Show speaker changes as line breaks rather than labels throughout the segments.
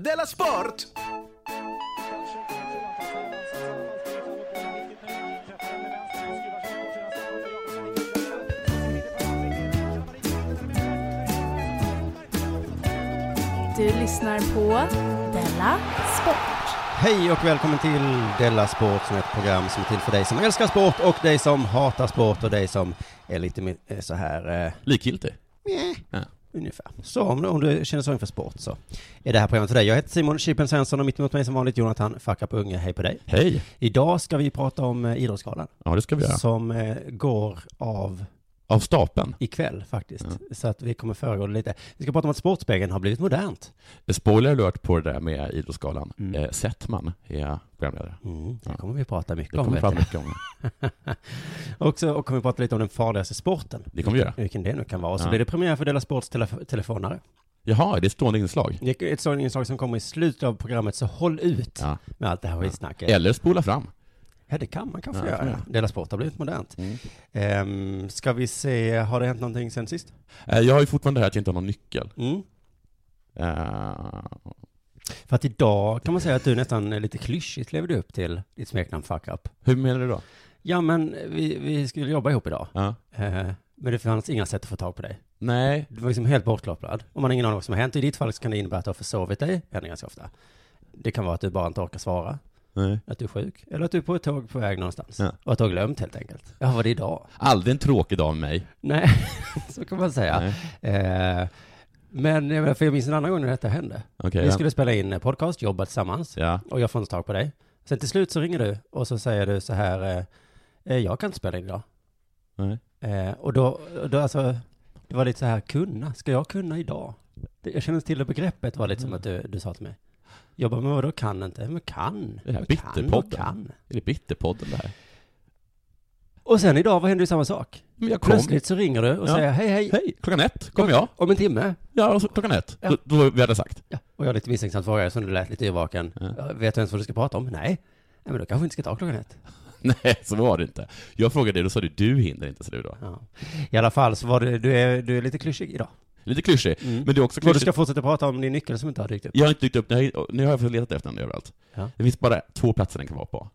Della Sport!
Du lyssnar på Della Sport.
Hej och välkommen till Della Sport som är ett program som är till för dig som älskar sport och dig som hatar sport och dig som är lite mer, eh, så här eh,
Likgiltig? Ja.
ungefär. Så om, om du känner så inför sport så är det här programmet för dig. Jag heter Simon Chippen Svensson och mitt emot mig som vanligt Jonathan Fuck Up Unge. Hej på dig.
Hej!
Idag ska vi prata om eh, Idrottsgalan
Ja, det ska vi göra.
som eh, går av
Av stapeln.
ikväll faktiskt. Så att vi kommer föregå det lite. Vi ska prata om att Sportspegeln har blivit modernt.
Spoiler alert på det där med Idrottsgalan.
Mm.
Eh, Settman är programledare.
Mm, det
Ja.
kommer vi prata mycket
Det
om.
kommer vi
vet
prata
du.
mycket om.
Och så och kommer vi prata lite om den farligaste sporten.
Det kommer vi göra.
Vilken det nu kan vara. Och så
Ja.
blir det premiär för Della Sports telef- telefonare.
Jaha, det är stående inslag.
Det är ett sådant inslag som kommer i slutet av programmet, så håll ut
Ja.
med allt det här skitsnacket.
Eller spola fram.
Ja, det kan man kanske
Ja, det kan
göra.
man
Dela Sport har blivit modernt. Ehm, ska vi se, har det hänt någonting sen sist?
Eh, Jag har ju fortfarande det här att jag inte har någon nyckel.
Mm.
Eh,
För att idag kan man säga att du nästan är lite klyschigt levde upp till ditt smeknamn Fuck Up.
Hur menar du då?
Ja, men vi, vi skulle jobba ihop idag.
Ja.
Eh, men det fanns inga sätt att få tag på dig.
Nej,
Du var liksom helt bortkopplad. Om man har ingen aning om vad som har hänt. I ditt fall så kan det innebära att du har försovit dig, händer ganska ofta. Det kan vara att du bara inte orkar svara,
nej.
att du är sjuk, eller att du är på ett tåg på väg någonstans.
Ja.
Och att du har glömt helt enkelt. Ja, var det idag?
Aldrig en tråkig dag med mig.
Nej, så kan man säga.
Nej.
Eh, men jag menar, för jag minns en annan gång när detta hände.
Okej,
Vi
ja.
skulle spela in en podcast, jobba tillsammans,
Ja.
och jag får inte tag på dig. Sen till slut så ringer du och så säger du så här, eh, eh, jag kan inte spela in idag.
Nej.
Eh, och då, då alltså, det var lite så här, kunna, ska jag kunna idag? Det, jag känner till det begreppet var lite som att du, du sa till mig. Jag bara, men vadå kan inte? Men kan?
Det här
Men kan, och
bitterpodden.
kan.
Är det Bitterpodden det här?
Och sen idag, vad hände ju samma sak?
Men jag kom.
Plötsligt så ringer du och
Ja.
säger, hej hej,
Hej, klockan ett kom jag.
om en timme.
Ja, och så klockan ett.
Ja.
Då, då vi hade sagt.
Ja, och jag är lite misstänksamt frågade som du lät lite yrvaken.
Ja.
Ja. Vet du ens vad du ska prata om? Nej. Nej, men då kanske vi inte ska ta klockan ett.
Nej, så var det inte. Jag frågade dig, då sa du du hinner inte, så du då.
Ja. I alla fall så var du, du är, du är lite klyschig idag.
Lite klyschig,
Mm.
men det är också
Vad du
klyschigt.
ska fortsätta prata om din nyckel som inte har dykt upp.
Jag har inte dykt upp, nu har jag- nu har jag letat efter den överallt.
Ja.
Det finns bara två platser den kan vara på.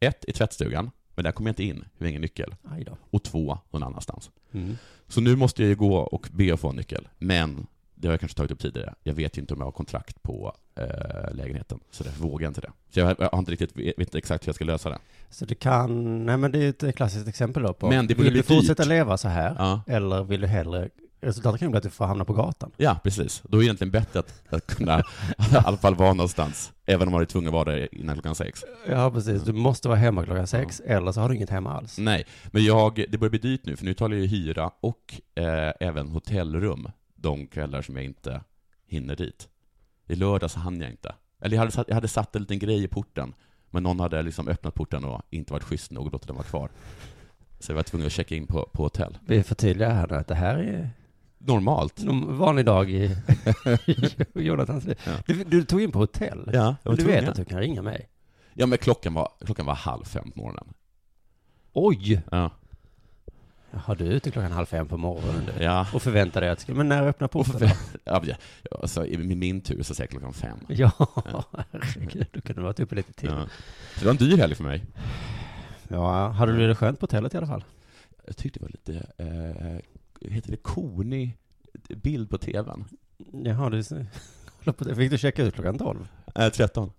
Ett i tvättstugan, men där kommer jag inte in, jag har ingen nyckel.
Aj då.
Och två någon annanstans.
Mm.
Så nu måste jag ju gå och be att få en nyckel, men det har jag kanske tagit upp tidigare. Jag vet ju inte om jag har kontrakt på eh, lägenheten, så därför vågar jag inte det. Så jag, jag har inte riktigt, vet inte exakt hur jag ska lösa det.
Så du kan, nej men det är ju ett klassiskt exempel då på,
Men det borde
vill
bli
du fortsätta
dyrt.
leva så här?
Ja.
Eller vill du hellre, resultatet kan ju bli att du får hamna på gatan.
Ja, precis. Då är det egentligen bättre att, att kunna i alla fall vara någonstans, även om man är tvungen att vara där innan klockan sex.
Ja, precis. Du måste vara hemma klockan sex, eller så har du inget hemma alls.
Nej, men jag, det börjar bli dyrt nu, för nu talar jag ju hyra och eh, även hotellrum de kvällar som jag inte hinner dit. I lördags hann jag inte. Eller jag hade, satt, jag hade satt en liten grej i porten, men någon hade liksom öppnat porten och inte varit schysst nog och låtit den vara kvar. Så jag var tvungen att checka in på, på hotell.
Vi förtydligar här nu att det här är
Normalt.
en vanlig dag i i Jonathans liv.
Ja.
Du, du tog in på hotell.
Ja,
Men du vet att du kan ringa mig?
Ja, men klockan var, klockan var halv fem på morgonen.
Oj!
Ja.
Jaha, du är ute klockan halv fem på morgonen du.
ja.
Och förväntar dig att ska, men när öppnar
Och
porten?
för, ja, men jag- jag- alltså, I min- min tur så säger jag klockan fem.
Ja, herregud, då kunde du varit uppe lite till. Ja.
Ja. Så det var en dyr helg för mig.
hade du det skönt på hotellet i alla fall?
eh, Jag tyckte det var lite, eh, heter det konig bild på tvn.
Jaha, du ser- kolla på det. Fick du checka ut klockan tolv?
Äh, 13.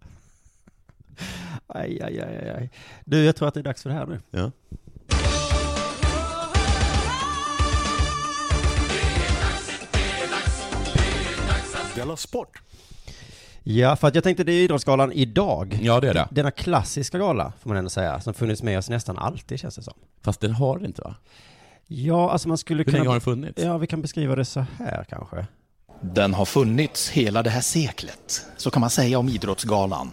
Aj, aj, aj, aj, aj. Du, jag tror att det är dags för det här nu.
Ja.
Ja, för att jag tänkte det är Idrottsgalan idag.
ja, det är det.
Denna klassiska gala, får man ändå säga, som funnits med oss nästan alltid, känns det som.
Fast den har det inte va?
Ja, alltså man skulle
Hur länge har
kunna...
den funnits?
Ja, vi kan beskriva det så här kanske.
Den har funnits hela det här seklet, så kan man säga om Idrottsgalan.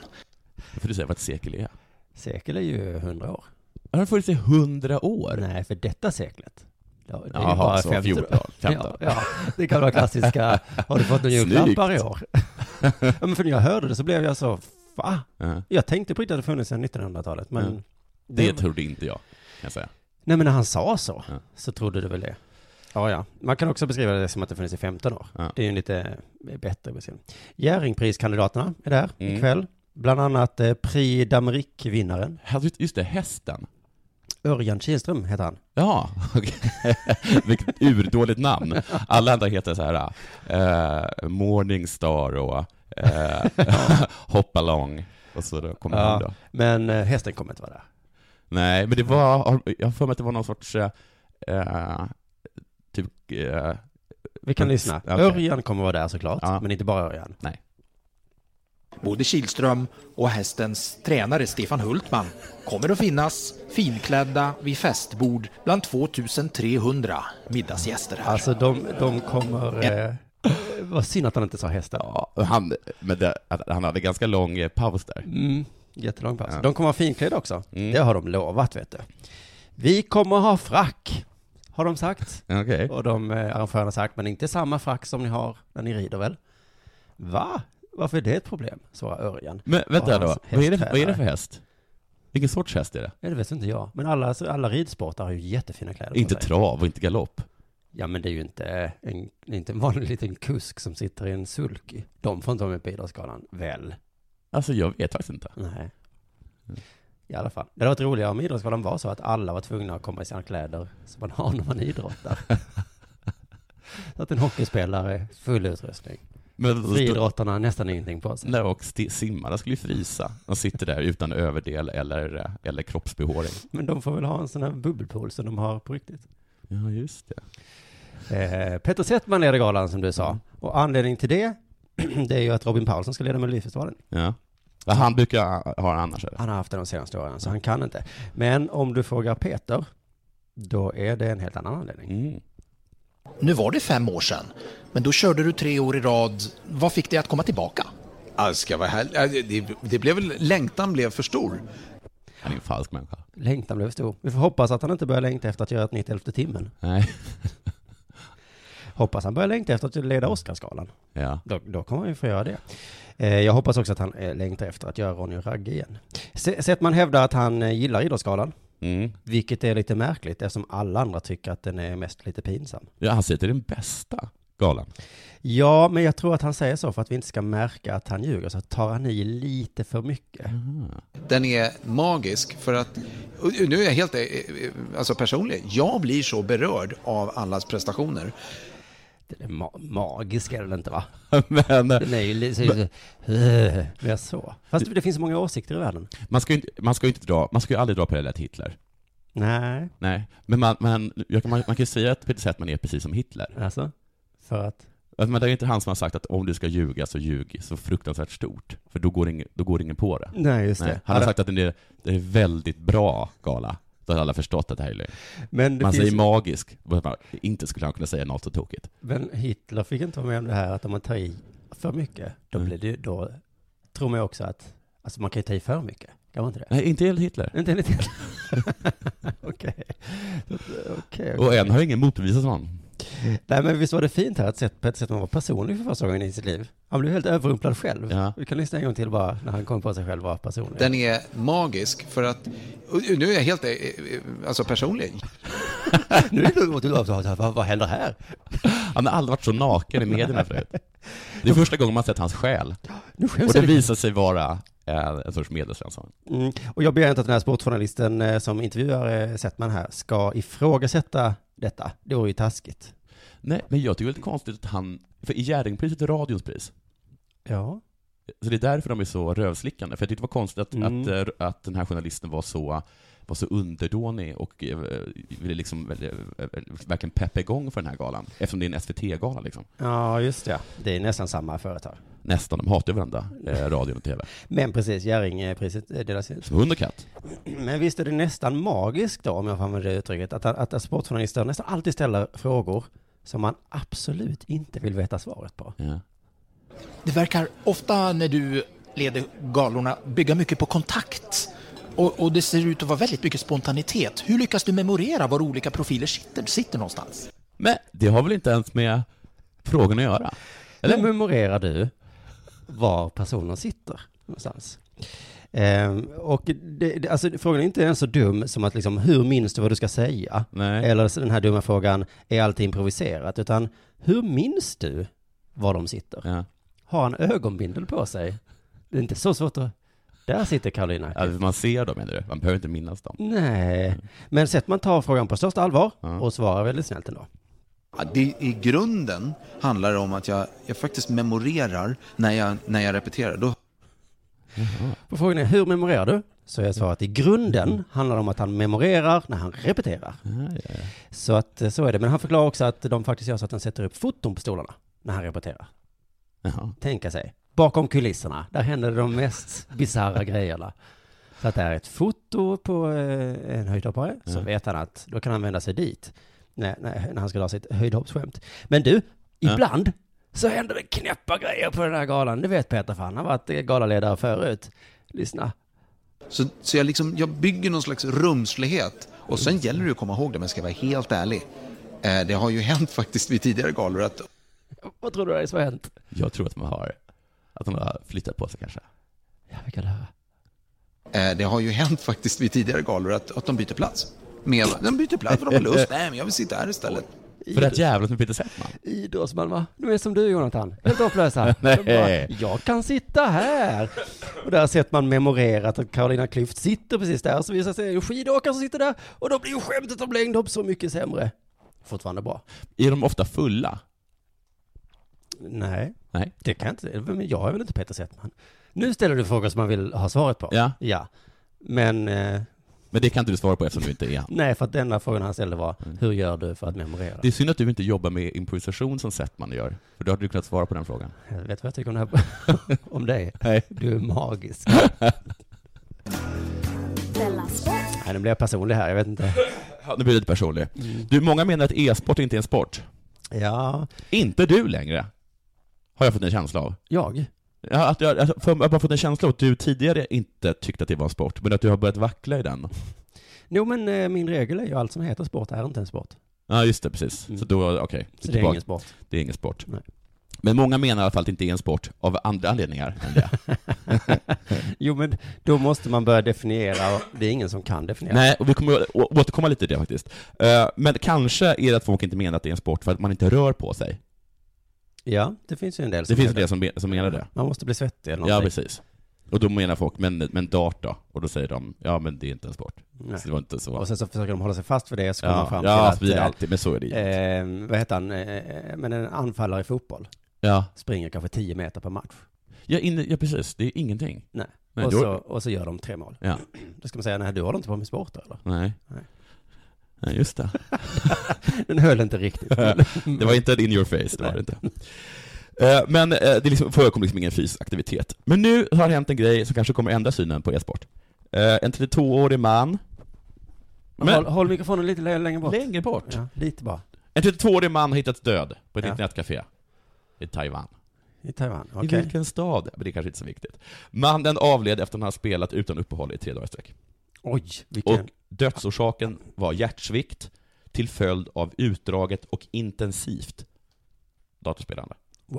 För du säger vad ett sekel är.
Sekel är ju hundra år.
Har den funnits i 100 år?
Nej, för detta seklet. Ja, det är ju
Jaha,
bara
så
50.
14,
Ja,
15.
ja, det kan vara klassiska, har du fått några
Snyggt.
julklappar i år? ja, men för när jag hörde det så blev jag så, va?
Ja.
Jag tänkte på inte att det funnits sedan 1900-talet, men...
Mm. Det trodde inte jag, kan jag säga.
Nej, men när han sa så,
Ja.
så trodde du väl det? Ja, ja. Man kan också beskriva det som att det funnits i 15 år.
Ja.
Det är ju en lite bättre beskrivning. Jerringpriskandidaterna är där
Mm.
ikväll. Bland annat eh, Prix d'Amérique-vinnaren
Hade du- Just det, hästen.
Örjan Kihlström heter han.
Ja, okej. Vilket urdåligt namn. Alla andra heter så här, eh, Morningstar och eh, Hopalong. Och så då kommer han då.
Men eh, hästen kommer inte vara där.
Nej, men det var, jag har för mig att det var någon sorts, eh, eh, typ, eh,
Vi kan
Mm,
lyssna.
okej.
Örjan kommer vara där såklart,
Ja.
men inte bara Örjan.
Både Kilström och hästens tränare Stefan Hultman kommer att finnas finklädda vid festbord bland 2300 middagsgäster här.
Alltså de, de kommer... Eh, vad synd att han inte sa hästen.
ja, han, men det, att han hade ganska lång eh, paus där.
Mm, jättelång paus.
Ja.
De kommer ha finklädda också.
Mm.
Det har de lovat, vet du. Vi kommer ha frack, har de sagt.
Okej.
Och de eh, arrangörerna har sagt, men inte samma frack som ni har när ni rider väl? Va? Varför är det ett problem? svarar Örjan.
Men vänta
Och
då,
hans
vad är, det, vad är det
hästtränare.
för häst? Vilken sorts häst är det?
Ja, det vet inte jag. Men alla, alla ridsportare har ju jättefina kläder på
Inte
sig.
trav och inte galopp.
Ja, men det är ju inte en, det är inte en vanlig liten kusk som sitter i en sulky. De får inte vara med på Idrottsgalan, väl?
Alltså jag vet faktiskt inte.
Nej. I alla fall. Det hade varit roligare om Idrottsgalan var så att alla var tvungna att komma i sina kläder som man har när man idrottar. så att en hockeyspelare, full utrustning.
Men då stod,
Friidrottarna, har nästan ingenting på sig.
när och sti- simmarna skulle ju frysa. De sitter där utan överdel eller, eh, eller kroppsbehåring.
Men de får väl ha en sån här bubbelpool som de har på riktigt.
Ja, just det.
Eh, Peter Settman leder galan som du sa. Och anledningen till det, det är ju att Robin Paulsson ska leda Melodifestivalen.
Ja. Ja, Han brukar ha det annars, eller?
Han har haft det de senaste åren, så han kan inte. Men om du frågar Peter, då är det en helt annan anledning.
Mm.
Nu var det fem år sedan, men då körde du tre år i rad. Vad fick dig att komma tillbaka?
Aska var här. Det, det blev väl, längtan blev för stor.
Han är en falsk människa.
Längtan blev stor. Vi får hoppas att han inte börjar längta efter att göra ett nytt elfte timmen.
Nej.
Hoppas han börjar längta efter att leda Oscarsgalan.
Ja.
Då, då kommer han ju få göra det. Eh, jag hoppas också att han eh, längtar efter att göra Ronny och Ragge igen. Se- Settman hävdar att han eh, gillar Idrottsgalan,
Mm.
vilket är lite märkligt eftersom alla andra tycker att den är mest lite pinsam.
ja. Han säger att det är den bästa galan.
Ja, men jag tror att han säger så för att vi inte ska märka att han ljuger, så tar han i lite för mycket.
Den är magisk för att, och nu är jag helt eh, eh, alltså personlig, jag blir så berörd av allas prestationer.
Den är ma- magisk är den inte va?
Men eh,
Den är ju lite så, äh, så. Fast det finns så många åsikter i världen.
man ska ju inte, man ska ju inte dra, man ska ju aldrig dra paralleller till Hitler.
Nej,
Nej. Men man, man, jag kan, man, man kan ju säga att Peter Settman är precis som Hitler.
alltså. För att?
Att- Men det är inte han som har sagt att om du ska ljuga så ljug så fruktansvärt stort. För då går ingen, då går ingen på det.
Nej, just
Nej. Han har sagt att det är, det är en väldigt bra gala. Då har alla förstått att det här är lögn.
men, det
Man
finns,
säger magisk, men man- inte skulle han kunna säga något så tokigt.
men Hitler fick inte vara med om det här att om man tar i för mycket, då
Mm.
blir det ju- då tror man ju också att, alltså man kan ju ta i för mycket, kan man inte det?
Mm.
Nej, inte enligt Hitler.
Inte enligt Hitler? Okej. Okej, okej.
Och än har ingen motbevisat honom.
Nej men visst var det fint här att se på ett sätt man var personlig för första gången i sitt liv. Han blev helt överrumplad själv.
Ja.
Vi kan lyssna en gång till bara när han kom på sig själv vara personlig.
Den är magisk för att, och nu är jag helt eh, eh, alltså personlig,
Nu är det något av så här, vad, vad händer här?
Han har aldrig varit så naken i medierna förut. Det är första gången man sett hans själ.
Nu
Och
skäms
det
jag. lite.
visar sig vara eh, en sorts medelsvensson.
Mm. Och jag begär inte att den här sportjournalisten eh, som intervjuar eh, Settman här ska ifrågasätta detta. Det vore ju taskigt.
Nej, men jag tycker det är lite konstigt att han... För i Jerringpriset är radions pris.
Ja.
Så det är därför de är så rövslickande. För jag tyckte det var konstigt att,
Mm.
att, eh, att den här journalisten var så, var så underdånig och eh, ville liksom väl- eh, verkligen peppa igång för den här galan. Eftersom det är en SVT-gala liksom.
Ja, just det. Det är nästan samma företag.
Nästan, de hatar ju varandra, eh, radion och TV.
Men precis, Jerringpriset eh, delas ut.
Som hund och katt.
Men visst är det nästan magiskt då, om jag får använda det uttrycket, att, att, att sportjournalister nästan alltid ställer frågor som man absolut inte vill veta svaret på.
Ja.
Det verkar ofta när du leder galorna bygga mycket på kontakt. Och, och det ser ut att vara väldigt mycket spontanitet. Hur lyckas du memorera var olika profiler sitter, sitter någonstans?
Men det har väl inte ens med frågan att göra?
Eller memorerar du var personen sitter någonstans? Ehm, och det, det, alltså, frågan är inte ens så dum som att liksom, hur minns du vad du ska säga?
Nej.
Eller så den här dumma frågan, är allt improviserat? Utan hur minns du var de sitter?
Ja.
Har han ögonbindel på sig? Det är inte så svårt att... Där sitter Karolina.
Alltså, man ser dem, menar du? Man behöver inte minnas dem.
Nej, men sett man tar frågan på största allvar och svarar väldigt snällt ändå.
Ja, det, I grunden handlar det om att jag, jag faktiskt memorerar när jag, när jag repeterar. Då
På frågan är hur memorerar du? Så är svaret i grunden handlar det om att han memorerar när han repeterar. Så att eh, så är det. Men han förklarar också att de faktiskt gör så att han sätter upp foton på stolarna när han repeterar. Tänka sig. Bakom kulisserna, där händer de mest bisarra grejerna. Så att det är ett foto på eh, en höjdhoppare, så
Mm.
vet han att då kan han vända sig dit. När, när, när han ska dra sitt höjdhoppsskämt. Men du, ibland så händer det knäppa grejer på den här galan. Det vet Peter, för han har varit eh, galaledare förut. Lyssna.
Så, så jag, liksom, jag bygger någon slags rumslighet. Och sen gäller det att komma ihåg det, men ska jag vara helt ärlig. Eh, det har ju hänt faktiskt vid tidigare galor att
Vad tror du det är som har hänt?
Jag tror att man har, att de har flyttat på sig kanske.
vi kan höra.
eh, det har ju hänt faktiskt vid tidigare galor att, att de byter plats. Med, de byter plats för de har lust. Nej, men jag vill sitta här istället.
För att jävlas med Peter Settman.
Idrottsman va? De är som du Jonathan, helt hopplösa.
Nej.
De bara, Jag kan sitta här. Och där har sett man memorerat att Carolina Klüft sitter precis där. Så visar det sig en skidåkare som sitter där. Och då blir ju skämtet om längdhopp så mycket sämre. Fortfarande bra.
Är de ofta fulla?
Nej,
Nej.
det kan jag inte. Men jag är väl inte Peter Settman. Nu ställer du frågor som man vill ha svaret på.
Ja.
Ja. Men eh,
Men det kan inte du svara på eftersom du inte är han.
nej, för att den enda frågan han ställde var, hur gör du för att memorera?
Mm. Det är synd att du inte jobbar med improvisation som Settman gör. För då hade du kunnat svara på den frågan.
Jag vet vad jag tycker om, det här, om dig?
Nej.
Du är magisk.
Della Sport.
Nej, nu blir jag personlig här, jag vet inte.
Ja, nu blir det lite personlig. Du, många menar att e-sport inte är en sport.
Ja,
Inte du längre. Har jag fått en känsla av.
jag?
Ja, att jag, att, för, jag har bara fått en känsla av att du tidigare inte tyckte att det var en sport, men att du har börjat vackla i den.
Jo, men eh, min regel är ju allt som heter sport är inte en sport.
Ja, just det, precis.
Mm.
Så då, okej.
Så det är
Tillbaka.
ingen sport.
Det är ingen sport.
Nej.
Men många menar i alla fall att det inte är en sport av andra anledningar än det.
Jo, men då måste man börja definiera, och det är ingen som kan definiera.
Nej, och vi kommer å- å- återkomma lite till det faktiskt. Eh, Men kanske är det att folk inte menar att det är en sport för att man inte rör på sig.
Ja, det finns ju en del
Det
som
finns
menar
det som, men- som menar det.
Man måste bli svettig eller
Ja,
någonting.
precis. Och då menar folk, men, men dart då? Och då säger de, ja men det är inte en sport.
Nej.
Så det var inte så.
Och sen så försöker de hålla sig fast vid det, så kommer man
ja,
fram
ja så
till
blir det
att,
alltid, men så är det ju.
eh, eh, vad heter han, eh, men en anfallare i fotboll
Ja,
springer kanske 10 meter per match.
ja, inne, ja precis. Det är ingenting.
Nej.
Nej,
och,
då-
så, och så gör de tre mål.
Ja.
Då ska man säga, nej du håller inte på med sport då, eller?
Nej.
Nej.
Nej, just det.
Den höll inte riktigt.
Det var inte en in your face, det var det inte. Eh, Men eh, det är liksom, förekom liksom ingen fysisk aktivitet. Men nu har det hänt en grej som kanske kommer ändra synen på e-sport. Eh, En 32-årig man. Men-
håll, håll mikrofonen lite lä- längre bort.
Längre bort?
Ja, lite bara.
En 32-årig man har hittats död på ett
Ja.
internetcafé i Taiwan.
I Taiwan, okej.
I vilken stad? Men det är kanske inte så viktigt. Mannen avled efter att han har spelat utan uppehåll i tre dagar i sträck.
Oj, vilken...
Och dödsorsaken var hjärtsvikt till följd av utdraget och intensivt datorspelande.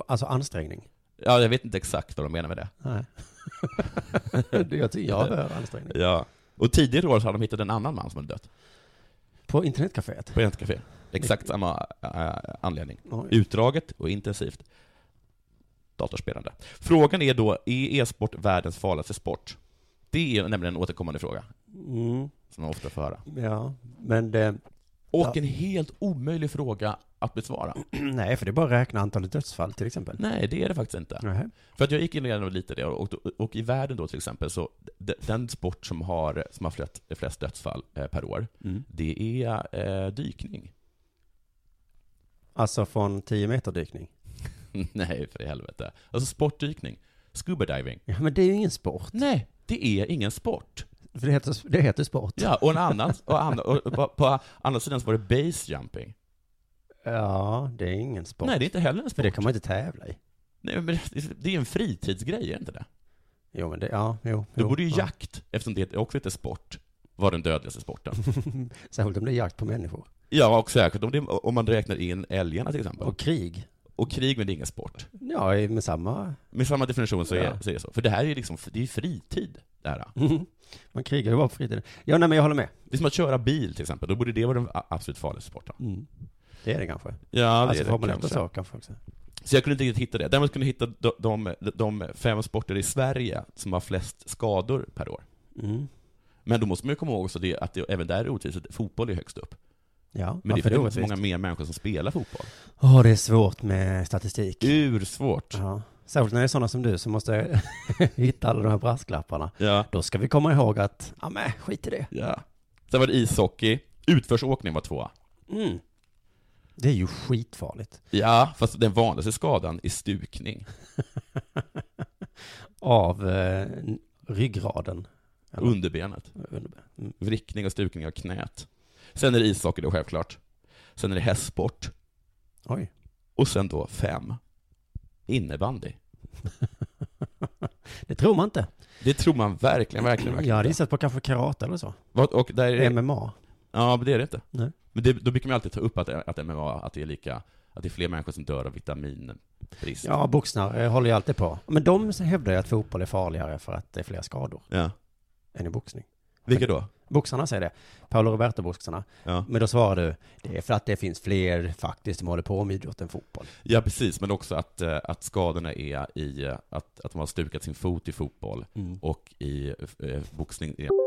Alltså ansträngning.
Ja, jag vet inte exakt vad de menar med det.
Nej. Det- jag tycker jag behöver ansträngning.
Ja. Och tidigare år så hade de hittat en annan man som hade dött
På internetcaféet?
på ett café. Exakt samma äh, anledning.
Oj.
Utdraget och intensivt datorspelande. Frågan är då, är e-sport världens farligaste sport? Det är nämligen en återkommande fråga
Mm,
som man ofta får höra.
ja, men det...
Och en helt omöjlig fråga att besvara.
Nej, för det är bara att räkna antalet dödsfall till exempel.
Nej, det är det faktiskt inte.
Nej.
För att jag gick igenom lite det, och, då- och i världen då till exempel, så d- den sport som har, som har flest, flest dödsfall eh, per år, det är eh, dykning.
Alltså från 10 meter dykning.
Nej, för i helvete. Alltså sportdykning. Scuba diving.
Ja, men det är ju ingen sport.
Nej, det är ingen sport.
För det heter, det heter sport.
Ja, och en annan, och an, och på, på andra sidan så var det base jumping.
Ja, det är ingen sport.
Nej, det är inte heller en
För
sport.
det kan man inte tävla i.
Nej, men det- det är en fritidsgrej, är det inte det?
Jo, men det, ja, jo.
Då
jo,
borde ju
ja.
jakt, eftersom det också heter sport, vara den dödligaste sporten.
Särskilt om det är jakt på människor.
Ja, och säkert om, det, om man räknar in älgarna till exempel.
Och krig.
Och krig, men det är ingen sport.
Ja, med samma...
Med samma definition så är,
Ja.
så är det så. För det här är ju liksom, det är ju fritid, det här.
Man krigar ju bara på fritiden. Ja, nej, men jag håller med.
Det är som att köra bil till exempel, då borde det vara den a- absolut farligaste sporten.
Det är det kanske.
Mm. Ja, det
alltså
är det
Formel 1 och
kanske.
så kanske också.
Så jag kunde inte riktigt hitta det. Däremot kunde jag hitta de, de, de fem sporter i Sverige som har flest skador per år.
Mm.
Men då måste man ju komma ihåg också det, att det även där är orättvist, att fotboll är högst upp.
Ja,
Men
varför
det
det
är inte så
orättvist?
många mer människor som spelar fotboll.
Åh, det är svårt med statistik.
Mm. Ursvårt.
Ja. Särskilt när det är sådana som du som måste hitta alla de här brasklapparna.
Ja.
Då ska vi komma ihåg att, ja men skit i det.
ja. Sen var det ishockey. Utförsåkning var tvåa.
Mm. Det är ju skitfarligt.
Ja, fast den vanligaste skadan är stukning.
Av eh, n- ryggraden. Eller-
Underbenet.
Underben. Mm.
Vrickning och stukning av knät. Sen är det ishockey då självklart. Sen är det hästsport.
Oj.
Och sen då fem. Innebandy.
Det tror man inte.
Det tror man verkligen, verkligen, verkligen.
Jag hade
inte.
gissat på kanske karate eller så.
Vad- Och där är det,
MMA.
ja, men det är det inte.
Mm. Nej.
Men det, då brukar man alltid ta upp att, att MMA, att det är lika, att det är fler människor som dör av vitaminbrist.
Ja, boxare håller ju alltid på. Men de hävdar ju att fotboll är farligare för att det är fler skador
Ja.
än i boxning.
Vilka då?
Boxarna säger det. Paolo Roberto-boxarna.
Ja.
Men då svarar du, det är för att det finns fler faktiskt som håller på med idrott än fotboll.
Ja, precis, men också att, eh, att skadorna är i eh, att, att de har stukat sin fot i fotboll
Mm.
och i eh, boxning. är-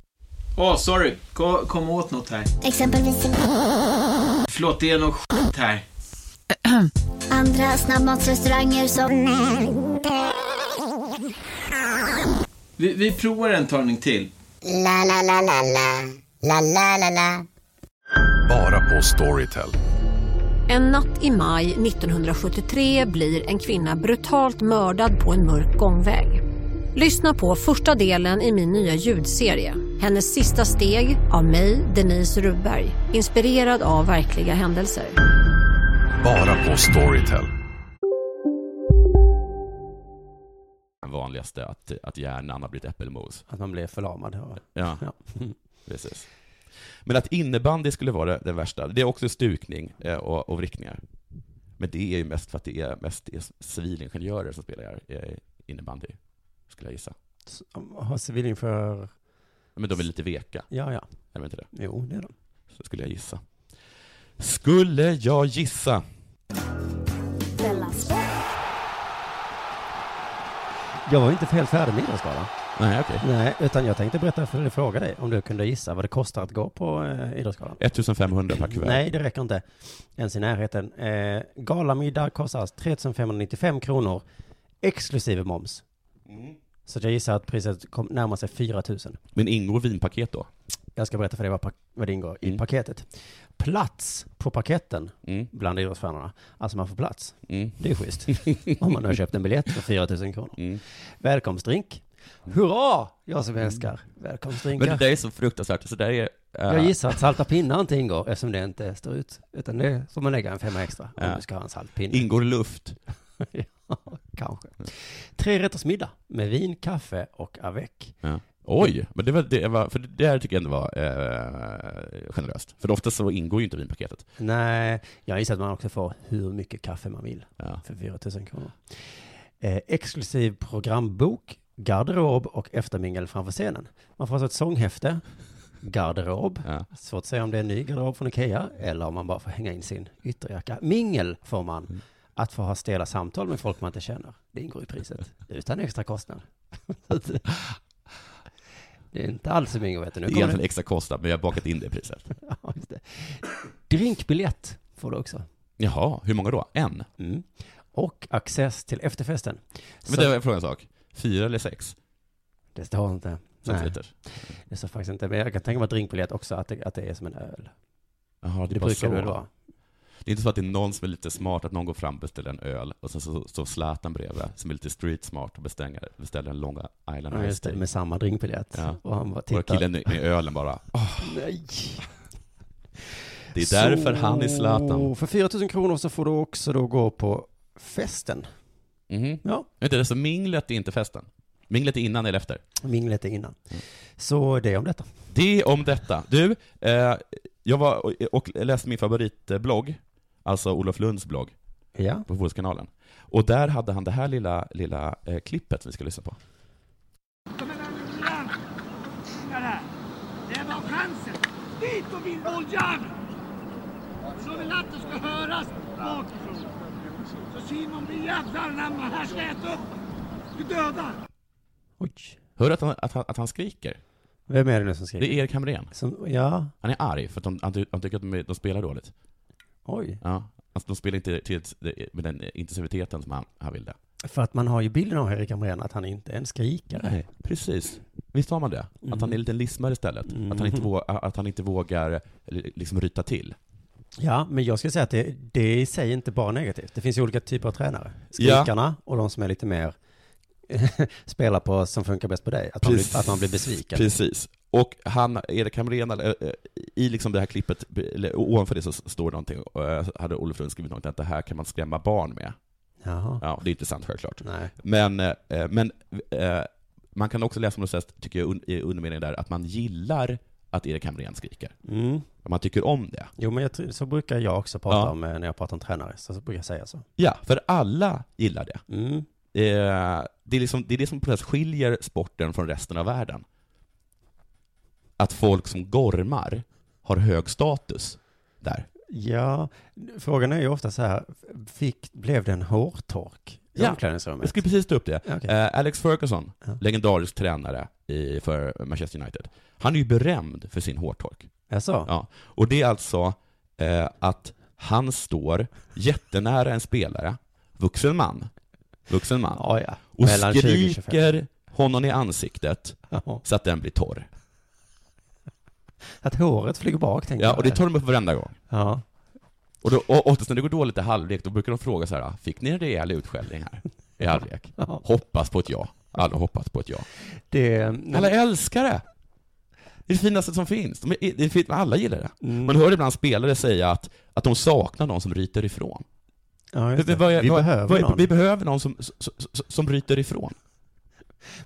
Åh, sorry. Kom, kom åt något här.
Exempelvis...
Förlåt, det är något skit här.
Andra snabbmatsrestauranger som...
Vi, vi provar en talning till.
La, la, la, la, la. La, la, la, la.
Bara på Storytel.
En natt i maj 1973 blir en kvinna brutalt mördad på en mörk gångväg. Lyssna på första delen i min nya ljudserie. Hennes sista steg av mig, Denise Rubberg. Inspirerad av verkliga händelser.
Bara på Storytel.
Den vanligaste, att, att hjärnan har blivit äppelmos.
Att man blir förlamad. Ja.
Ja,
Ja.
precis. Men att innebandy skulle vara det, det värsta, det är också stukning eh, och, och vrickningar. Men det är ju mest för att det är mest det är civilingenjörer som spelar eh, innebandy, skulle jag gissa.
Så, Har civilingenjör...
Men de är lite veka,
Ja, ja.
är de inte det?
Jo, det är de.
Så skulle jag gissa. Skulle jag gissa?
Jag var ju inte helt färdig med Idrottsgalan.
Nej, okej.
Nej, utan jag tänkte berätta för dig, fråga dig om du kunde gissa vad det kostar att gå på eh, Idrottsgalan.
1500 per kuvert.
Nej, det räcker inte ens i närheten. Eh, galamiddag kostar 3595 kronor exklusive moms.
Mm.
Så att jag gissar att priset kom, närmar sig 4000.
Men ingår vinpaket då?
Jag ska berätta för dig vad, pak- vad det ingår
Mm.
i paketet. Plats på paketen bland idrottsstjärnorna. Alltså man får plats.
Mm.
Det är schysst. Om man har köpt en biljett för 4000 kronor.
Mm.
Välkomstdrink. Hurra! Jag som älskar välkomstdrinkar.
Mm. Men det där är så fruktansvärt. Så där är, eh,
Jag gissar att salta pinnar inte ingår eftersom det inte står ut. Utan det får man lägga en femma extra om
Ja.
du ska ha en saltpinne.
eh, Ingår luft?
ja, kanske. Tre middag med vin, kaffe och avec.
Ja. Oj, men det var, det var, för det här tycker jag ändå var eh, generöst. För oftast så ingår ju inte vinpaketet.
Nej, jag gissar att man också får hur mycket kaffe man vill för 4 000 kronor. Eh, exklusiv programbok, garderob och eftermingel framför scenen. Man får alltså ett sånghäfte, garderob, svårt att säga om det är en ny garderob från Ikea eller om man bara får hänga in sin ytterjacka. Mingel får man, att få ha stela samtal med folk man inte känner. Det ingår i priset, utan extra kostnad. det är inte alls en bingo, vet du.
Det är
Nu kommer det.
egentligen extra kostnad, men jag har bakat in det i priset.
Ja, just det. Drinkbiljett får du också.
Jaha, hur många då? En?
Mm. Och access till efterfesten.
Men det var jag fråga en sak. Fyra eller sex?
Det står inte.
Sex
Nej.
liter.
Det står faktiskt inte. Men jag kan tänka mig att drinkbiljett också, att det, att det är som en öl.
Jaha, det,
Det
var
brukar
så.
det väl vara.
Det är inte så att det är någon som är lite smart, att någon går fram och beställer en öl, och sen så står Zlatan bredvid, som är lite street smart och beställer, beställer en Long Island
Ja,
Ice
just det,
Tea.
med samma drinkbiljett.
Ja.
Och han bara
och
tittar.
killen med ölen bara,
Nej.
Det är därför han är Zlatan.
För 4 000 kronor så får du också då gå på festen.
Mhm.
Ja.
Vänta, det är så minglet är inte festen? Minglet är innan eller efter?
Minglet är innan.
Mm.
Så det om detta.
Det om detta. Du, eh, jag var och, och läste min favoritblogg, alltså Olof Lunds blogg,
Ja.
på Fotbollskanalen. Och där hade han det här lilla, lilla eh, klippet vi ska lyssna på.
Det var chansen! Dit och vinn bolljäveln! Så vill att det ska höras bakifrån. Så Simon blir jävlar anamma, här ska jag äta upp! Du dödar!
Hör du att han, att, han, att han skriker?
Vem är det nu som skriker?
Det är Erik Hamrén.
Som, ja.
Han är arg för att de, han, ty- han tycker att de, är- de spelar dåligt.
Oj.
Ja. Alltså de spelar inte till, med den intensiteten som han, han ville.
För att man har ju bilden av Erik Hamrén att han inte är en skrikare.
Nej, precis. Visst har man det? Att han är en liten lismare istället? Att, han inte vågar, att han inte vågar eh, liksom ryta till?
Ja, men jag skulle säga att det, det är i sig inte bara negativt. Det finns ju olika typer av tränare. Skrikarna och de som är lite mer spelar på som funkar bäst på dig. Att, man
Precis.
blir, att man blir besviken.
Precis. Och han, Erik Hamrén, eh, eh, i liksom det här klippet, eller ovanför det så står det någonting, eh, hade Olof Lund skrivit någonting, att det här kan man skrämma barn med.
Jaha.
Ja, det är inte sant självklart.
Nej.
Men, eh, men eh, man kan också läsa om det så här, tycker jag, un- i undermeningen där, att man gillar att Erik Hamrén skriker.
Mm.
Man tycker om det.
Jo, men jag, tror- så brukar jag också prata
Ja.
om eh, när jag pratar om tränare. Så, så brukar jag säga så.
Ja, för alla gillar det.
Mm.
Eh, det, är liksom, det är det som på något sätt skiljer sporten från resten av världen. Att folk som gormar har hög status där.
Ja, frågan är ju ofta så här, fick, blev det en hårtork i
jag
omklädningsrummet?
skulle precis ta upp det.
Ja, okej.
Eh, Alex Ferguson,
Ja.
legendarisk tränare i, för Manchester United. Han är ju berömd för sin hårtork.
Jaså?
Ja. Och det är alltså eh, att han står jättenära en spelare, vuxen man, vuxen man,
Ja, ja.
och
Mellan 20 och 25.
skriker honom i ansiktet så att den blir torr.
Att håret flyger bak, tänkte
Ja,
jag.
och det tar de upp varenda gång.
Ja.
Och, då, och oftast när det går dåligt i halvlek, då brukar de fråga så här, fick ni en rejäl utskällning här i halvlek?
Ja.
Hoppas på ett ja. Alla hoppas på ett ja.
det,
Alla älskar det! Det är det finaste som finns. De är, det är fint, men alla gillar
Mm.
det. Man hör ibland spelare säga att, att de saknar någon som ryter ifrån.
Ja, just det.
Vad är-
vi
vad är-
behöver
vad är-
någon.
Vi behöver någon som, som, som, som ryter ifrån.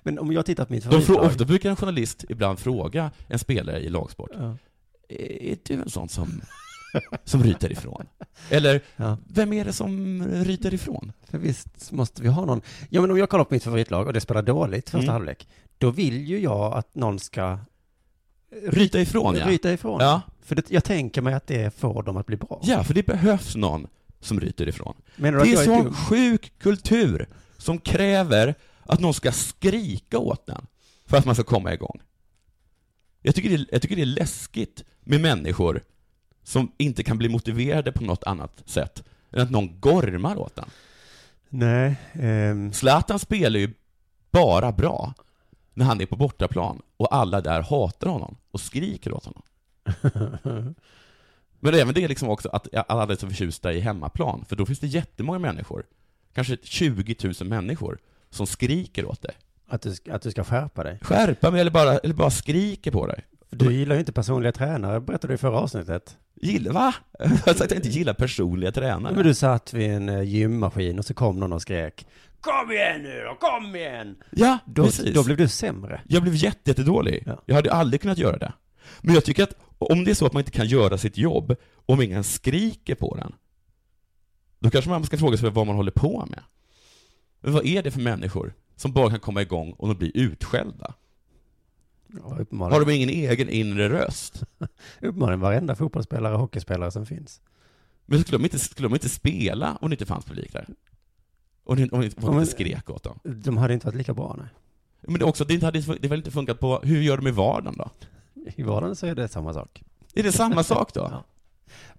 Men om jag tittar på mitt
De frå,
favoritlag.
ofta brukar en journalist ibland fråga en spelare i lagsport,
Ja.
"Är- är du en sån som, som ryter ifrån? Eller, vem är det som ryter ifrån?
För visst måste vi ha någon. Ja, men om jag kollar på mitt favoritlag och det spelar dåligt första
Mm.
halvlek, då vill ju jag att någon ska
Ryta ifrån, ja.
Ryta ifrån.
Ja.
För det, jag tänker mig att det får dem att bli bra.
Ja, för det behövs någon som ryter ifrån.
Menar du
det är
att jag är
sån
dum?
sjuk kultur som kräver att någon ska skrika åt den för att man ska komma igång. Jag tycker det är, jag tycker det är läskigt med människor som inte kan bli motiverade på något annat sätt än att någon gormar åt den.
Nej. ehm,
Zlatan spelar ju bara bra när han är på bortaplan och alla där hatar honom och skriker åt honom. Men även det är liksom också att alla är så förtjusta i hemmaplan, för då finns det jättemånga människor, kanske 20 000 människor, som skriker åt dig.
Att du, ska- att du ska skärpa dig.
Skärpa mig eller bara, eller bara skriker på dig.
Du gillar ju inte personliga tränare, berättade du i förra avsnittet.
Gillar, va? Jag sa att jag inte gillar personliga tränare.
Men du satt vid en eh, gymmaskin och så kom någon och skrek.
Kom igen nu då, kom igen!
Ja,
Då-
precis.
då blev du sämre.
Jag blev jätte, jättedålig. Jag hade aldrig kunnat göra det. Men jag tycker att om det är så att man inte kan göra sitt jobb, om ingen skriker på den, då kanske man ska fråga sig vad man håller på med. Men vad är det för människor som bara kan komma igång och de blir utskällda? Har de ingen egen inre röst?
Uppenbarligen varenda fotbollsspelare och hockeyspelare som finns.
Men skulle de inte, skulle de inte spela om det inte fanns publik där? Om det, om det, om det
Ja, men-
inte skrek åt dem?
De hade inte varit lika bra, nej.
Men också, det, inte hade, det väl inte funkat på, hur gör de i vardagen då?
I vardagen så är det samma sak.
Är det samma sak då?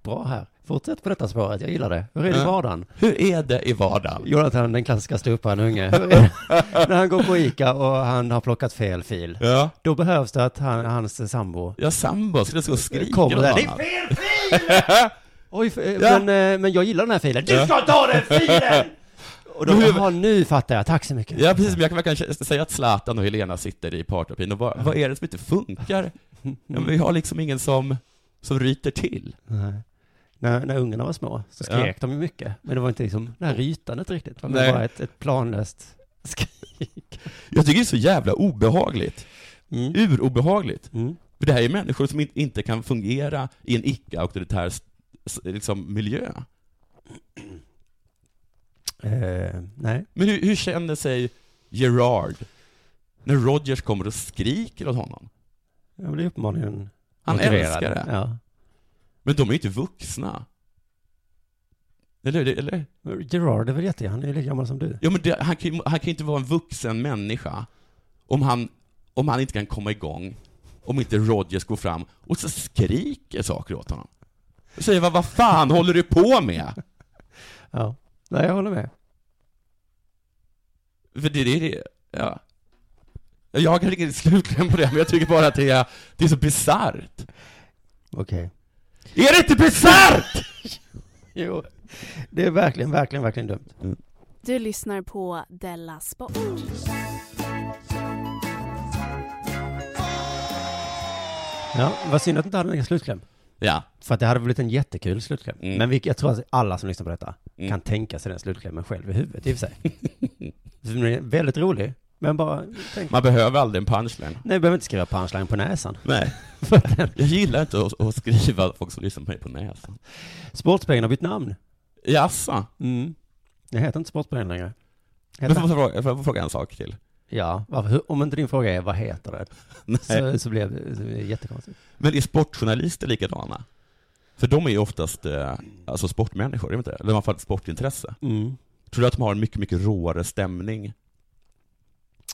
Bra här. Fortsätt på detta spåret, jag gillar det. Hur är det i
Ja.
vardagen?
Hur är det i vardagen?
Jonathan, den klassiska ståupparen unge. Hur är det? När han går på ICA och han har plockat fel fil.
Ja.
Då behövs det att han, hans sambo...
Ja, sambo. Skulle stå och skrika
Kommer
åt
där. Det är
honom.
fel fil! Oj, för,
Ja.
men, eh, men jag gillar den här filen. Du
Ja.
ska ta den filen! Och då,
Men hur-
jaha, nu fattar jag. Tack så mycket.
Ja, precis. Men jag kan verkligen kä- säga att Zlatan och Helena sitter i partnerapin och vad, vad är det som inte funkar? Ja, men vi har liksom ingen som, som ryter till.
Nej. När, när ungarna var små så
Ja.
skrek de ju mycket. Men det var inte liksom det här rytandet riktigt. Det var
Nej.
bara ett, ett planlöst skrik.
Jag tycker det är så jävla obehagligt.
Mm.
Urobehagligt. För det här är människor som in- inte kan fungera i en icke-auktoritär s- s- liksom, miljö.
Eh, nej.
Men hur, hur känner sig Gerard när Rogers kommer och skriker åt honom?
Jag blir uppenbarligen
Han
motiverad.
älskar det.
Ja.
Men de är ju inte vuxna. Eller hur? Eller?
Gerard är väl jätte, han är ju lika gammal som du.
Ja, men det, han, kan ju, han kan ju inte vara en vuxen människa om han, om han inte kan komma igång, om inte Rodgers går fram och så skriker saker åt honom. Och säger vad, vad fan håller du på med?
Ja. Nej, jag håller med.
För det, det, det ja. Jag har kanske ingen slutkläm på det, men jag tycker bara att det är, det är så bisarrt.
Okej.
Är det inte bisarrt?
Jo, det är verkligen, verkligen, verkligen dumt.
Du lyssnar på Della Sport.
Ja, vad synd att du inte hade någon slutkläm.
Ja.
För att det hade blivit en jättekul slutkläm.
Mm.
Men vi, jag tror att alla som lyssnar på detta
Mm.
kan tänka sig den slutklämmen själv i huvudet i och för sig. För den är väldigt rolig, men bara tänk.
Man behöver aldrig en punchline.
Nej, du behöver inte skriva punchline på näsan.
Nej. Jag gillar inte att, att skriva folk som lyssnar på mig på näsan.
Sportspegeln har bytt namn.
Jaså?
Mm. Det heter inte Sportspegeln längre.
Men får jag fråga- får jag fråga en sak till?
Ja, varför, hur- om inte din fråga är vad heter det? Så, så blev det, så blev det jättekonstigt.
Men är sportjournalister likadana? För de är ju oftast eh, alltså sportmänniskor, är de inte? Eller i alla fall sportintresse.
Mm.
Tror du att de har en mycket, mycket råare stämning?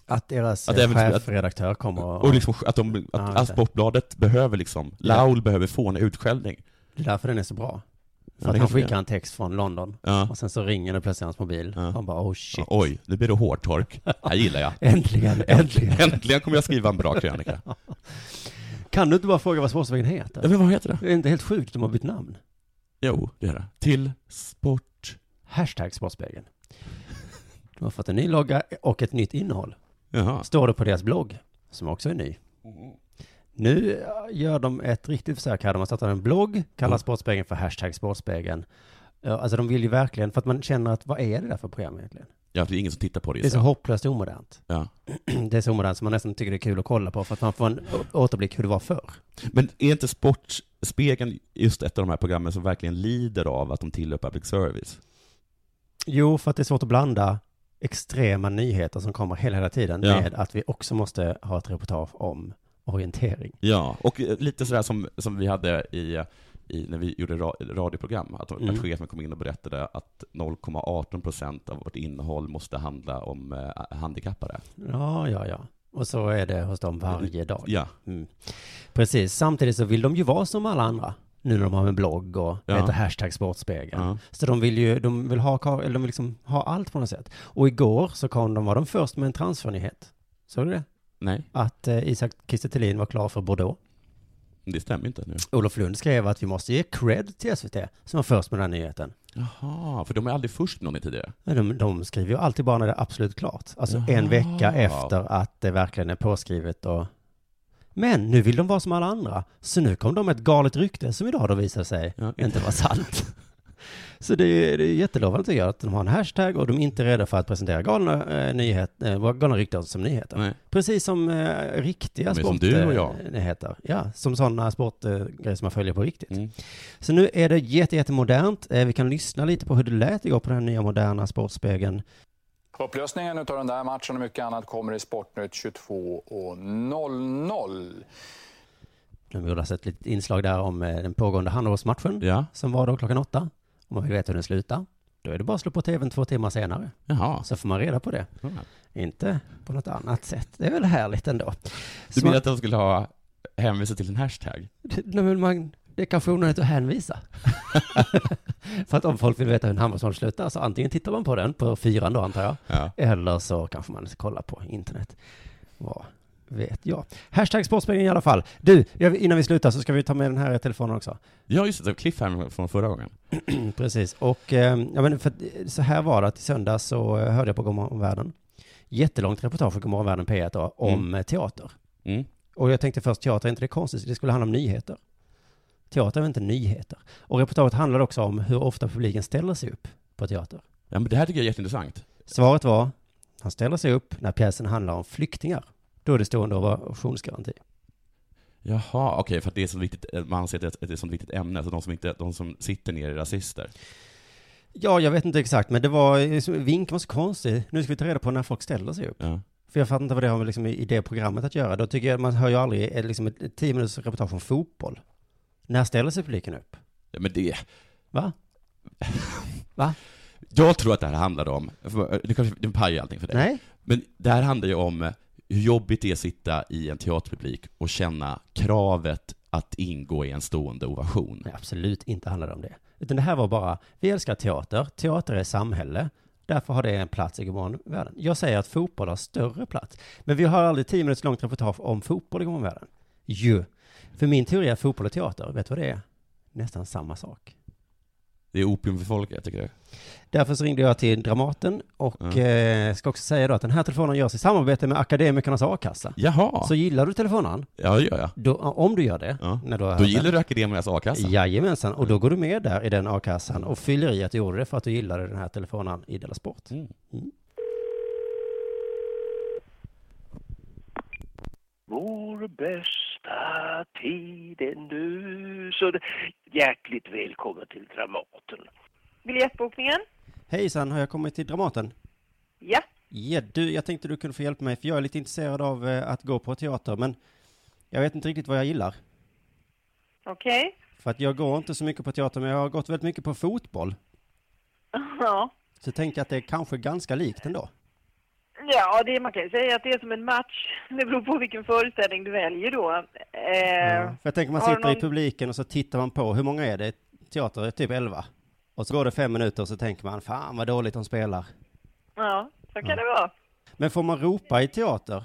Att deras
Att
eh,
även- att-
chefredaktör kommer och...
Och liksom, att, de, att,
Ja, just
att
det.
Sportbladet behöver liksom,
Ja.
Laul behöver fåna utskällning.
Det är därför den är så bra.
Ja,
För att
det
han
kanske
skickar
är.
en text från London.
Ja.
Och sen så ringer det plötsligt hans mobil. Han bara oh shit.
Ja, Oj, nu blir det hårtork. Här gillar jag.
Äntligen, äntligen.
Äntligen kommer jag skriva en bra krönika.
Kan du inte bara fråga vad Sportspegeln heter?
Ja, men vad heter det?
Det är inte helt sjukt att de har bytt namn.
Jo, det är det. Till sport...
Hashtag Sportspegeln. De har fått en ny logga och ett nytt innehåll.
Jaha.
Står det på deras blogg, som också är ny. Nu äh, gör de ett riktigt försök här. De har startat en blogg, kallar
Mm.
Sportspegeln för hashtag Sportspegeln. Ja, Alltså de vill ju verkligen, för att man känner att vad är det där för program egentligen?
Ja, det är ingen som tittar på det.
Det är så hopplöst omodernt.
Ja.
Det är så omodernt som man nästan tycker det är kul att kolla på för att man får en å- återblick hur det var förr.
Men är inte Sportspegeln just ett av de här programmen som verkligen lider av att de tillhör public service?
Jo, för att det är svårt att blanda extrema nyheter som kommer hela, hela tiden
Ja.
med att vi också måste ha ett reportage om orientering.
Ja, och eh, lite sådär som, som vi hade i, i, när vi gjorde ra, radioprogram, att,
Mm.
att chefen kom in och berättade att 0,18 procent av vårt innehåll måste handla om eh, handikappade.
Ja, ja, ja. Och så är det hos dem varje dag.
Ja.
Mm. Precis, samtidigt så vill de ju vara som alla andra. Nu när de har en blogg och
Ja.
heter hashtag sportspegeln.
Ja.
Så de vill ju, de vill ha, kar- eller de vill liksom ha allt på något sätt. Och igår så kom de, var de först med en transfernyhet. Såg du det?
Nej,
Att eh, Isak Kiese Thelin var klar för Bordeaux.
det stämmer inte nu.
Olof Lund skrev att vi måste ge cred till SVT som var först med den här nyheten.
Jaha, för de är aldrig först med någon tidigare.
Men de, de skriver ju alltid bara när det är absolut klart. Alltså
Jaha.
en vecka efter att det verkligen är påskrivet och Men nu vill de vara som alla andra, så nu kom de med ett galet rykte som idag då visar sig inte vara sant. Så det är, det är jättelovande tycker jag, att de har en hashtag och de är inte rädda för att presentera galna, eh, nyhet, eh, våra galna rykten som nyheter. Precis som eh, riktiga
Men som du och jag.
sportnyheter. Ja, som sådana sportgrejer som man följer på riktigt.
Mm.
Så nu är det jätte, jättemodernt. Eh, Vi kan lyssna lite på hur det lät igår på den här nya moderna Sportspegeln.
Upplösningen av den där matchen och mycket annat kommer i Sportnytt 22.00.
De gjorde alltså ett litet inslag där om eh, den pågående handbollsmatchen som var då klockan åtta. Om man vill veta hur den slutar, då är det bara att slå på tvn två timmar senare. Så får man reda på det.
Mm.
Inte på något annat sätt. Det är väl härligt ändå.
Du menar att de skulle ha hänvisat till en hashtag?
Nej, men man, det är kanske onödigt att hänvisa. För att om folk vill veta hur en handbollsmatch slutar, så antingen tittar man på den på fyran då antar jag, eller så kanske man kollar på internet. Vad vet jag. Hashtag Sportspegeln i alla fall. Du, jag- innan vi slutar så ska vi ta med den här telefonen också.
Ja, just det. Cliffhanger från förra gången.
Precis, och eh, ja, men för, att- så här var det att i söndags så eh, hörde jag på Gomorron Världen, jättelångt reportage för Gomorron Världen P1 då, om
Mm.
eh, teater.
Mm.
Och jag tänkte först, teater är inte det konstigt, det skulle handla om nyheter. Teater är väl inte nyheter. Och reportaget handlade också om hur ofta publiken ställer sig upp på teater.
Ja, men det här tycker jag är jätteintressant.
Svaret var, han ställer sig upp när pjäsen handlar om flyktingar. Då är det stående ovationsgaranti.
Jaha, okej, för att det är så viktigt, eh, man anser att det är ett sånt viktigt ämne, så de som, inte, de som sitter ner är rasister.
Ja, jag vet inte exakt, men det var, vinken var så konstig. Nu ska vi ta reda på när folk ställer sig upp. För jag fattar inte vad det har med liksom, i det programmet att göra. Då tycker jag, man hör ju aldrig eh, liksom, ett tio minuters reportage om fotboll. När ställer sig publiken upp?
Ja, men det...
Va? Va?
Jag tror att det här handlar om, för- det kanske det pajar allting för dig.
Nej.
Men det här handlar ju om eh, hur jobbigt det är att sitta i en teaterpublik och känna kravet att ingå i en stående ovation.
Nej, absolut inte handlar det om det. Utan det här var bara, vi älskar teater, teater är samhälle, därför har det en plats i Gomorron-världen. Jag säger att fotboll har större plats. Men vi har aldrig tio minuters långt reportage om fotboll i Gomorron-världen. Ju. För min teori är fotboll och teater, vet du vad det är? Nästan samma sak.
Det är opium för folket, tycker jag.
Därför så ringde jag till Dramaten och eh, ska också säga då att den här telefonen görs i samarbete med Akademikernas A-kassa.
Jaha.
Så gillar du telefonen?
Ja, det gör jag.
Då, om du gör det. När du har
Då
hört
gillar
den.
du Mm. Akademias a-kassa?
Jajamensan, och då går du med där i den a-kassan och fyller i att du gjorde det för att du gillade den här telefonen i Della Sport. Mm.
Vår bästa tid är nu. Så det- hjärtligt välkommen till Dramaten.
Biljettbokningen?
Hejsan, har jag kommit till Dramaten?
Ja.
Ja, du, jag tänkte du kunde få hjälpa mig för jag är lite intresserad av eh, att gå på teater men jag vet inte riktigt vad jag gillar.
Okej.
För att jag går inte så mycket på teater men jag har gått väldigt mycket på fotboll.
Ja.
Så jag tänker att det är kanske ganska likt ändå.
Ja, det, man kan ju säga att det är som en match. Det beror på vilken föreställning du väljer då. Eh,
Ja, För jag tänker man
har
sitter
någon-
i publiken och så tittar man på, hur många är det? Teater är typ 11. Och så går det fem minuter och så tänker man, fan vad dåligt de spelar.
Ja, så kan
Ja.
det vara.
Men får man ropa i teater?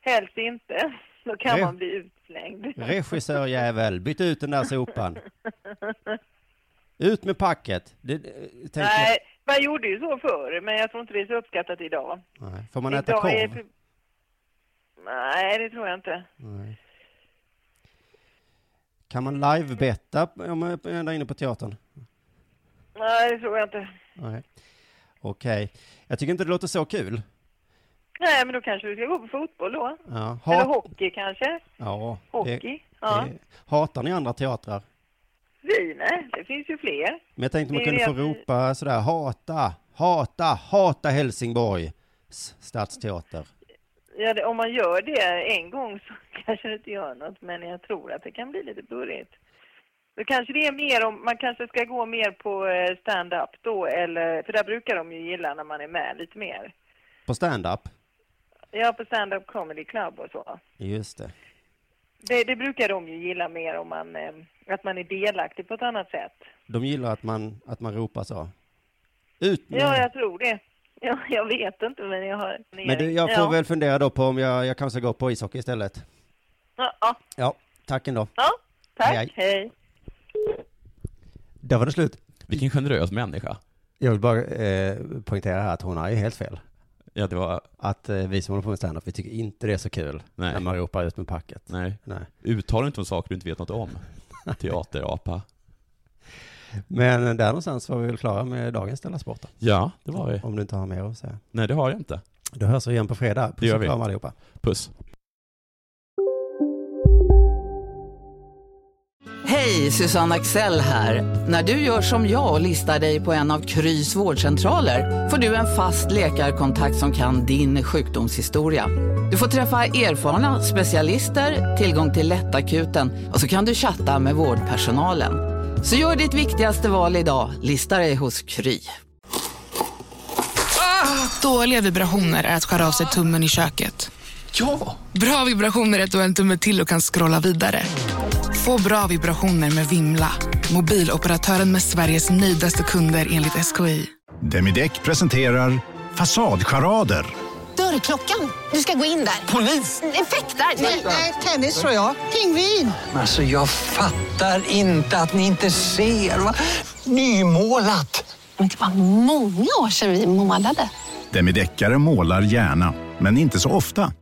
Helst inte. Då kan
Re-
man bli utslängd.
Regissörjävel, byt ut den där sopan. Ut med packet. Det, det- tänker
Nej, man gjorde ju så förr, men jag tror inte det är så uppskattat idag.
man. Nej. Får man
idag
äta
är
korv?
pub- Nej, det tror jag inte.
Nej. Kan man livebetta om man är där inne på teatern?
Nej, det tror jag inte.
Nej. Okej. Jag tycker inte det låter så kul.
Nej, men då kanske du ska gå på fotboll då.
Ja.
Eller
Hat-
hockey kanske?
ja, det-
Hockey? ja.
det- Hatar ni andra teatrar?
Vi, nej. Det finns ju fler.
Men jag tänkte man
Det är
kunde få
det att vi-
ropa sådär hata, hata, hata Helsingborg s- stadsteater.
Ja, det, om man gör det en gång så kanske det inte gör något, men jag tror att det kan bli lite burrigt. Då kanske det är mer om, man kanske ska gå mer på eh, stand-up då, eller, för där brukar de ju gilla när man är med lite mer.
På stand-up?
Ja, på stand-up comedy club och så.
Just det.
Det, det brukar de ju gilla mer om man, eh, att man är delaktig på ett annat sätt.
De gillar att man, att man ropar så. Ut med...
Ja, jag tror det. Ja, jag vet inte, men jag har...
Men du, jag får
ja.
väl fundera då på om jag, jag kanske går på ishockey istället.
Ja, ja.
Ja, tack ändå.
ja tack.
Hej,
hej.
Där var det slut.
Vilken generös människa.
Jag vill bara eh, poängtera här att hon har ju helt fel.
Ja, det var...
Att eh, vi som håller på med standup, vi tycker inte det är så kul
Nej.
när man ropar ut med packet.
Nej.
Nej.
Uttala inte om saker du inte vet något om. Teaterapa.
Men eh, där någonstans var vi väl klara med dagens Della Sport då?
Ja, det var vi.
Om du inte har mer att säga.
Nej, det har jag inte.
Då hörs vi igen på fredag. Puss
Det gör
och
vi.
kram allihopa.
Puss.
Hej, Susanne Axel här. När du gör som jag och listar dig på en av Krys vårdcentraler får du en fast läkarkontakt som kan din sjukdomshistoria. Du får träffa erfarna specialister, tillgång till lättakuten och så kan du chatta med vårdpersonalen. Så gör ditt viktigaste val idag, listar dig hos Kry.
Dåliga vibrationer är att skära av sig tummen i köket. Ja! Bra vibrationer är att du har en tumme till och kan scrolla vidare. Få bra vibrationer med Vimla. Mobiloperatören med Sveriges nöjdaste kunder enligt SKI.
Demideck presenterar Fasadcharader.
Dörrklockan. Du ska gå in där. Polis? Effektar? Nej, nej, tennis tror jag. Pingvin.
Alltså jag fattar inte att ni inte ser. Va? Nymålat.
Men det var många år sedan vi målade.
Demideckare målar gärna, men inte så ofta.